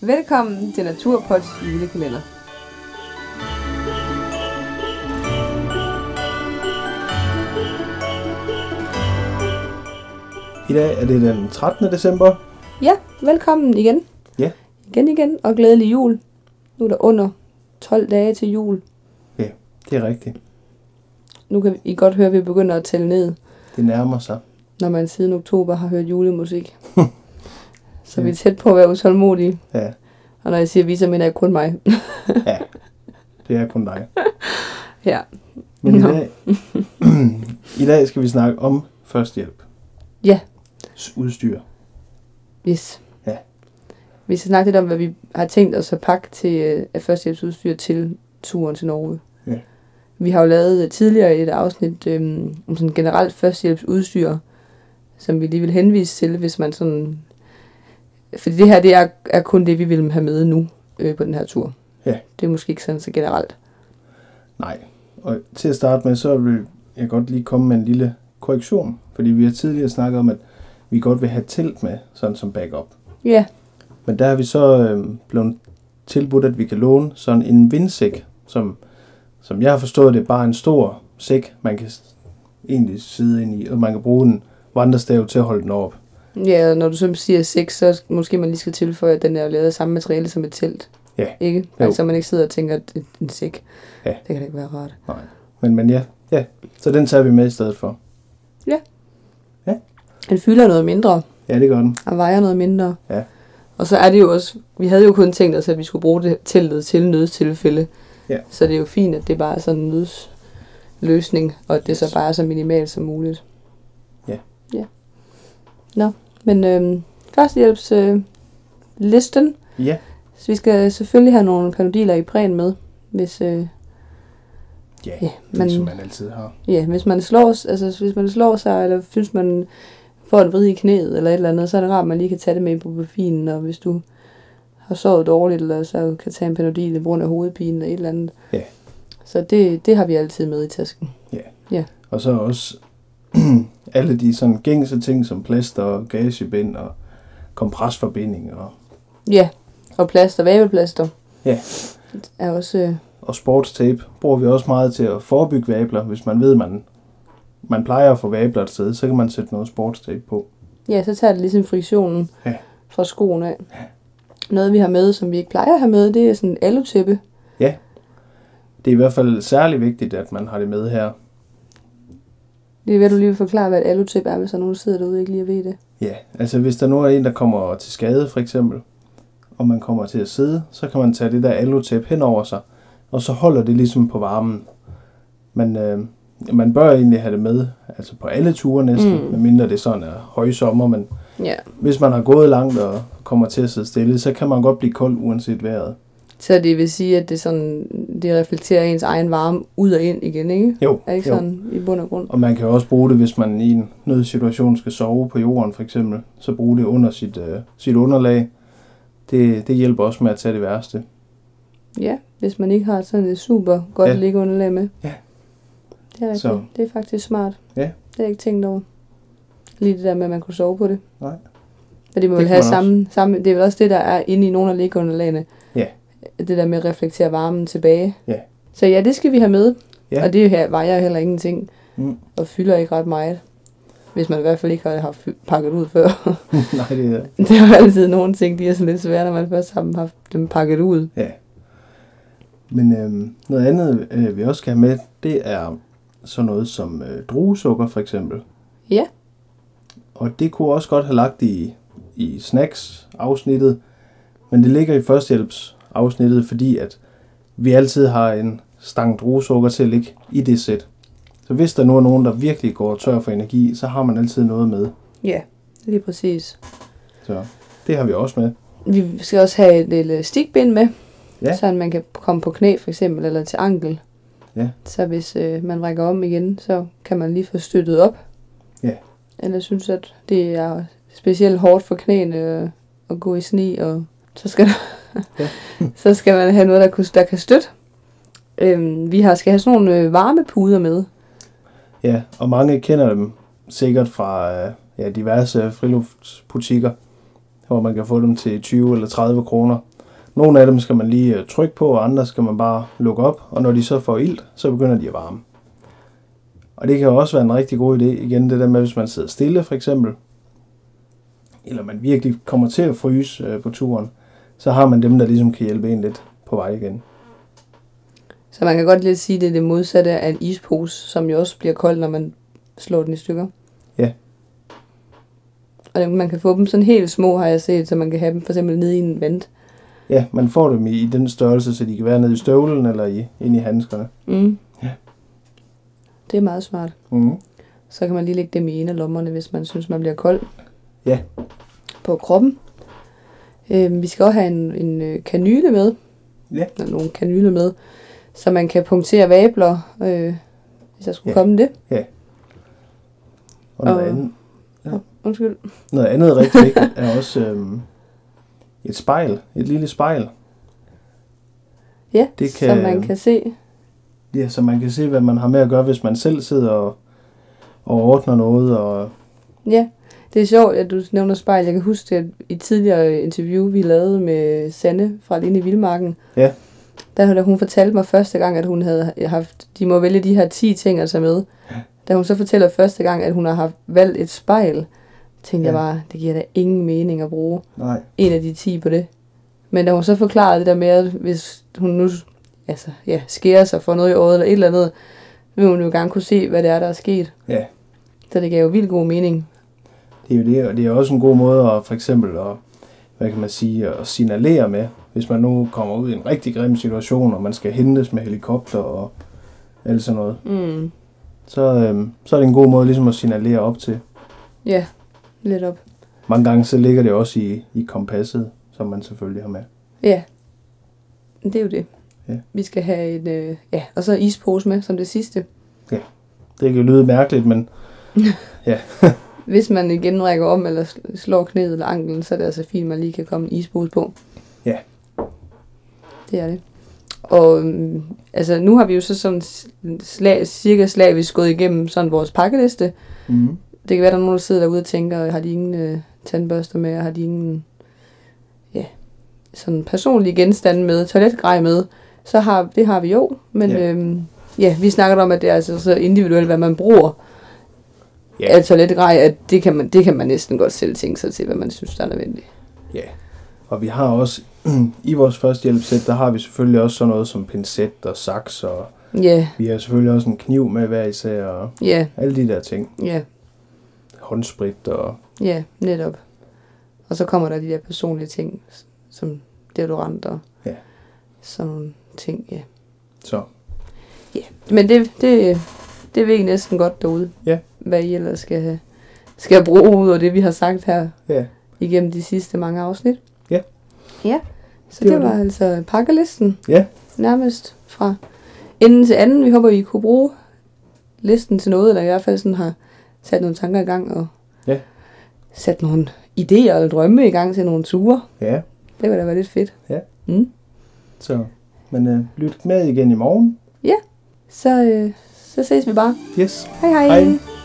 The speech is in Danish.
Velkommen til Naturpods julekalender. I dag er det den 13. december. Ja, velkommen igen. Ja. Igen igen, og glædelig jul. Nu er der under 12 dage til jul. Ja, det er rigtigt. Nu kan I godt høre, at vi begynder at tælle ned, Det nærmer sig. når man siden oktober har hørt julemusik. så vi er tæt på at være utålmodige. Ja, Og når jeg siger vi, så mener jeg kun mig. ja. Det er kun dig. ja. Men i Nå. dag, i dag skal vi snakke om førstehjælp. Ja. S- Udstyr. Yes. Ja. Vi skal snakke lidt om, hvad vi har tænkt os at pakke til øh, af førstehjælpsudstyr til turen til Norge. Ja. Vi har jo lavet øh, tidligere et afsnit øhm, om sådan generelt førstehjælpsudstyr, som vi lige vil henvise til, hvis man sådan... Fordi det her, det er, er kun det, vi vil have med nu øh, på den her tur. Ja. Det er måske ikke sådan så generelt. Nej. Og til at starte med, så vil jeg godt lige komme med en lille korrektion. Fordi vi har tidligere snakket om, at vi godt vil have telt med, sådan som backup. Ja, Men der er vi så øh, blevet tilbudt, at vi kan låne sådan en vindsæk, som, som jeg har forstået, det er bare en stor sæk, man kan s- egentlig sidde ind i, og man kan bruge en vandrestav til at holde den op. ja og når du så siger sex, så måske man lige skal tilføje, at den er jo lavet af samme materiale som et telt. Ja. Ikke? Jo. Jo. Altså, man ikke sidder og tænker, at det er en sæk. Ja. Det kan da ikke være rart. Nej. Men, men ja, ja, så den tager vi med i stedet for. Den fylder noget mindre Ja, det gør den. og vejer noget mindre. Ja. Og så er det jo også, vi havde jo kun tænkt os, at vi skulle bruge det teltet til nødstilfælde. Ja. Så det er jo fint, at det bare er sådan en nødsløsning, og at det så Yes. bare er så minimalt som muligt. Ja. Ja. Nå, men øhm, førstehjælpslisten, øh, listen. Ja, så vi skal selvfølgelig have nogle panodiler i præn med, hvis, øh, ja, ja, det er, man, som man altid har. ja, hvis man slår, altså, hvis man slår sig, eller synes man får en vrid i knæet, eller et eller andet, så er det rart, at man lige kan tage det med i profilien, og hvis du har sovet dårligt, eller så kan tage en panodil i grund af hovedpine, eller et eller andet. Ja. Så det, det har vi altid med i tasken. Og så også alle de sådan gængse ting som plaster og gagebind og kompresforbinding og, Ja, og plaster, vabelplaster. Ja. Er også, øh, og sportstape bruger vi også meget til at forebygge vabler. Hvis man ved, man, man plejer at få vabler et sted, så kan man sætte noget sportstape på. ja, så tager det ligesom friktionen Ja. fra skoen af. Noget vi har med, som vi ikke plejer at have med, det er sådan en alutæppe. Det er i hvert fald særlig vigtigt, at man har det med her. Det er ved, at du lige vil forklare, hvad et alutæppe er, hvis der er nogen, der sidder derude og ikke lige ved det. Ja, altså hvis der nu er en, der kommer til skade for eksempel, og man kommer til at sidde, så kan man tage det der alutæp hen over sig, og så holder det ligesom på varmen. Men øh, man bør egentlig have det med, altså på alle ture næsten, Mm. mm. medmindre det sådan er højsommer, men Ja. hvis man har gået langt og kommer til at sidde stille, så kan man godt blive kold uanset vejret. Så det vil sige, at det, sådan, det reflekterer ens egen varme ud og ind igen, ikke? Jo, Er det ikke jo. sådan i bund og grund? Og man kan jo også bruge det, hvis man i en nødsituation skal sove på jorden for eksempel, så bruge det under sit, øh, sit underlag. Det, det hjælper også med at tage det værste. Ja, hvis man ikke har sådan et super godt ja. Ja. liggeunderlag med. Ja. Det er rigtigt. Så. Det er faktisk smart. Ja. Det har jeg ikke tænkt over. Lige det der med, at man kunne sove på det. Nej. Men det må Det vel kan have man samme, samme... Det er vel også det, der er inde i nogle af liggeunderlagene. Ja. Det der med at reflektere varmen tilbage. Ja. Så ja, det skal vi have med. Ja. Og det her vejer heller ingenting. Mm. Og fylder ikke ret meget. Hvis man i hvert fald ikke har har fy- pakket ud før. Nej, det er... Det er jo altid nogle ting, de er sådan lidt svære, når man først har dem, haft dem pakket ud. Ja. Men øhm, noget andet, øh, vi også skal have med, det er sådan noget som øh, druesukker for eksempel. Ja. Og det kunne også godt have lagt i, i snacks-afsnittet, men det ligger i førstehjælps-afsnittet, fordi at vi altid har en stang druesukker til at ligge i det sæt. Så hvis der nu er nogen, der virkelig går tør for energi, så har man altid noget med. Ja, lige præcis. Så det har vi også med. Vi skal også have et lille stikbind med, Ja. så man kan komme på knæ for eksempel, eller til ankel. Ja. Så hvis øh, man rækker om igen, så kan man lige få støttet op. Ja. Eller synes, at det er specielt hårdt for knæene øh, at gå i sne, og så skal, der, Ja. så skal man have noget, der, kunne, der kan støtte. Øhm, vi har, skal have sådan nogle øh, varmepuder med. Ja, og mange kender dem sikkert fra øh, ja, diverse friluftsbutikker, hvor man kan få dem til 20 eller 30 kroner. Nogle af dem skal man lige øh, trykke på, og andre skal man bare lukke op, og når de så får ild, så begynder de at varme. Og det kan jo også være en rigtig god idé, igen det der med, hvis man sidder stille for eksempel, eller man virkelig kommer til at fryse øh, på turen, så har man dem, der ligesom kan hjælpe en lidt på vej igen. Så man kan godt lidt sige, at det er det modsatte af en ispose, som jo også bliver kold, når man slår den i stykker. Ja. Og man kan få dem sådan helt små, har jeg set, så man kan have dem for eksempel nede i en vand. Ja, man får dem i, i den størrelse, så de kan være nede i støvlen eller i, inde i handskerne. Mm. Ja. Det er meget smart. Mm. Så kan man lige lægge dem i en af lommerne, hvis man synes, man bliver kold. Ja. På kroppen. Øhm, vi skal også have en, en øh, kanyle med. Ja. Eller nogle kanyle med. Så man kan punktere vabler, øh, hvis der skulle Ja. komme det. Og noget, Og- andet, Undskyld. noget andet rigtig vigtigt er også øhm, et spejl, et lille spejl, Ja, Det så kan- man kan se. Ja, så man kan se, hvad man har med at gøre, hvis man selv sidder og, og ordner noget. Og, Ja, det er sjovt, at du nævner spejl. Jeg kan huske, at i et tidligere interview, vi lavede med Sanne fra Linde i Vildmarken, Ja. der da hun fortalte mig første gang, at hun havde haft, de må vælge de her 10 ting at tage med. Da hun så fortæller første gang, at hun har haft valgt et spejl, tænkte Ja. jeg bare, det giver da ingen mening at bruge nej. en af de 10 på det. Men da hun så forklarede det der med, at hvis hun nu altså, ja, skærer sig for noget i øjet eller et eller andet, vil hun jo gerne kunne se, hvad det er, der er sket. Ja, Så det gav jo vildt god mening. det er jo det, og det er også en god måde at for eksempel at, hvad kan man sige, at signalere med, hvis man nu kommer ud i en rigtig grim situation, og man skal hentes med helikopter og alt sådan noget. Mm. Så, øhm, så er det en god måde ligesom at signalere op til. Ja, lidt op. Mange gange så ligger det også i, i kompasset, som man selvfølgelig har med. Ja, det er jo det. Ja. Vi skal have en, øh, ja, og så ispose med som det sidste. Det kan jo lyde mærkeligt, men Hvis man igen rækker om eller sl- slår knæet eller anklen, så er det altså fint, at man lige kan komme en ispose på. Ja. Det er det. Og øhm, altså, nu har vi jo så sådan slag, cirka slavisk gået igennem sådan vores pakkeliste. mm. Det kan være, der er nogen, der sidder derude og tænker, har de ingen øh, tandbørster med, og har de ingen ja, sådan personlige genstande med, toiletgrej med, så har, det har vi jo. Men Ja. ja. Øhm, ja, vi snakker om, at det er altså så individuelt, hvad man bruger Ja. ja. af toiletgrej, Altså, at det kan, man, det kan man næsten godt selv tænke sig til, hvad man synes, der er nødvendigt. Ja, og vi har også, i vores førstehjælpssæt, der har vi selvfølgelig også sådan noget som pincet og saks, og Ja, vi har selvfølgelig også en kniv med hver især, og ja, alle de der ting. ja, Håndsprit og... ja, netop. Og så kommer der de der personlige ting, s- som deodorant og Ja. sådan nogle ting, ja. Så Men det, det, det ved I næsten godt derude. Ja. Hvad I ellers skal, have- skal bruge ud af det, vi har sagt her ja, igennem de sidste mange afsnit. Ja. Ja. Så Det det, var det var altså pakkelisten. Ja. Nærmest fra enden til anden. Vi håber, I kunne bruge listen til noget, eller i hvert fald sådan har sat nogle tanker i gang og Ja. sat nogle idéer eller drømme i gang til nogle ture. ja, Det kunne da være lidt fedt. Ja. Mm. så... Men øh, lyt med igen i morgen. Så, øh, så ses vi bare. Yes. Hej hej. Hej. hej.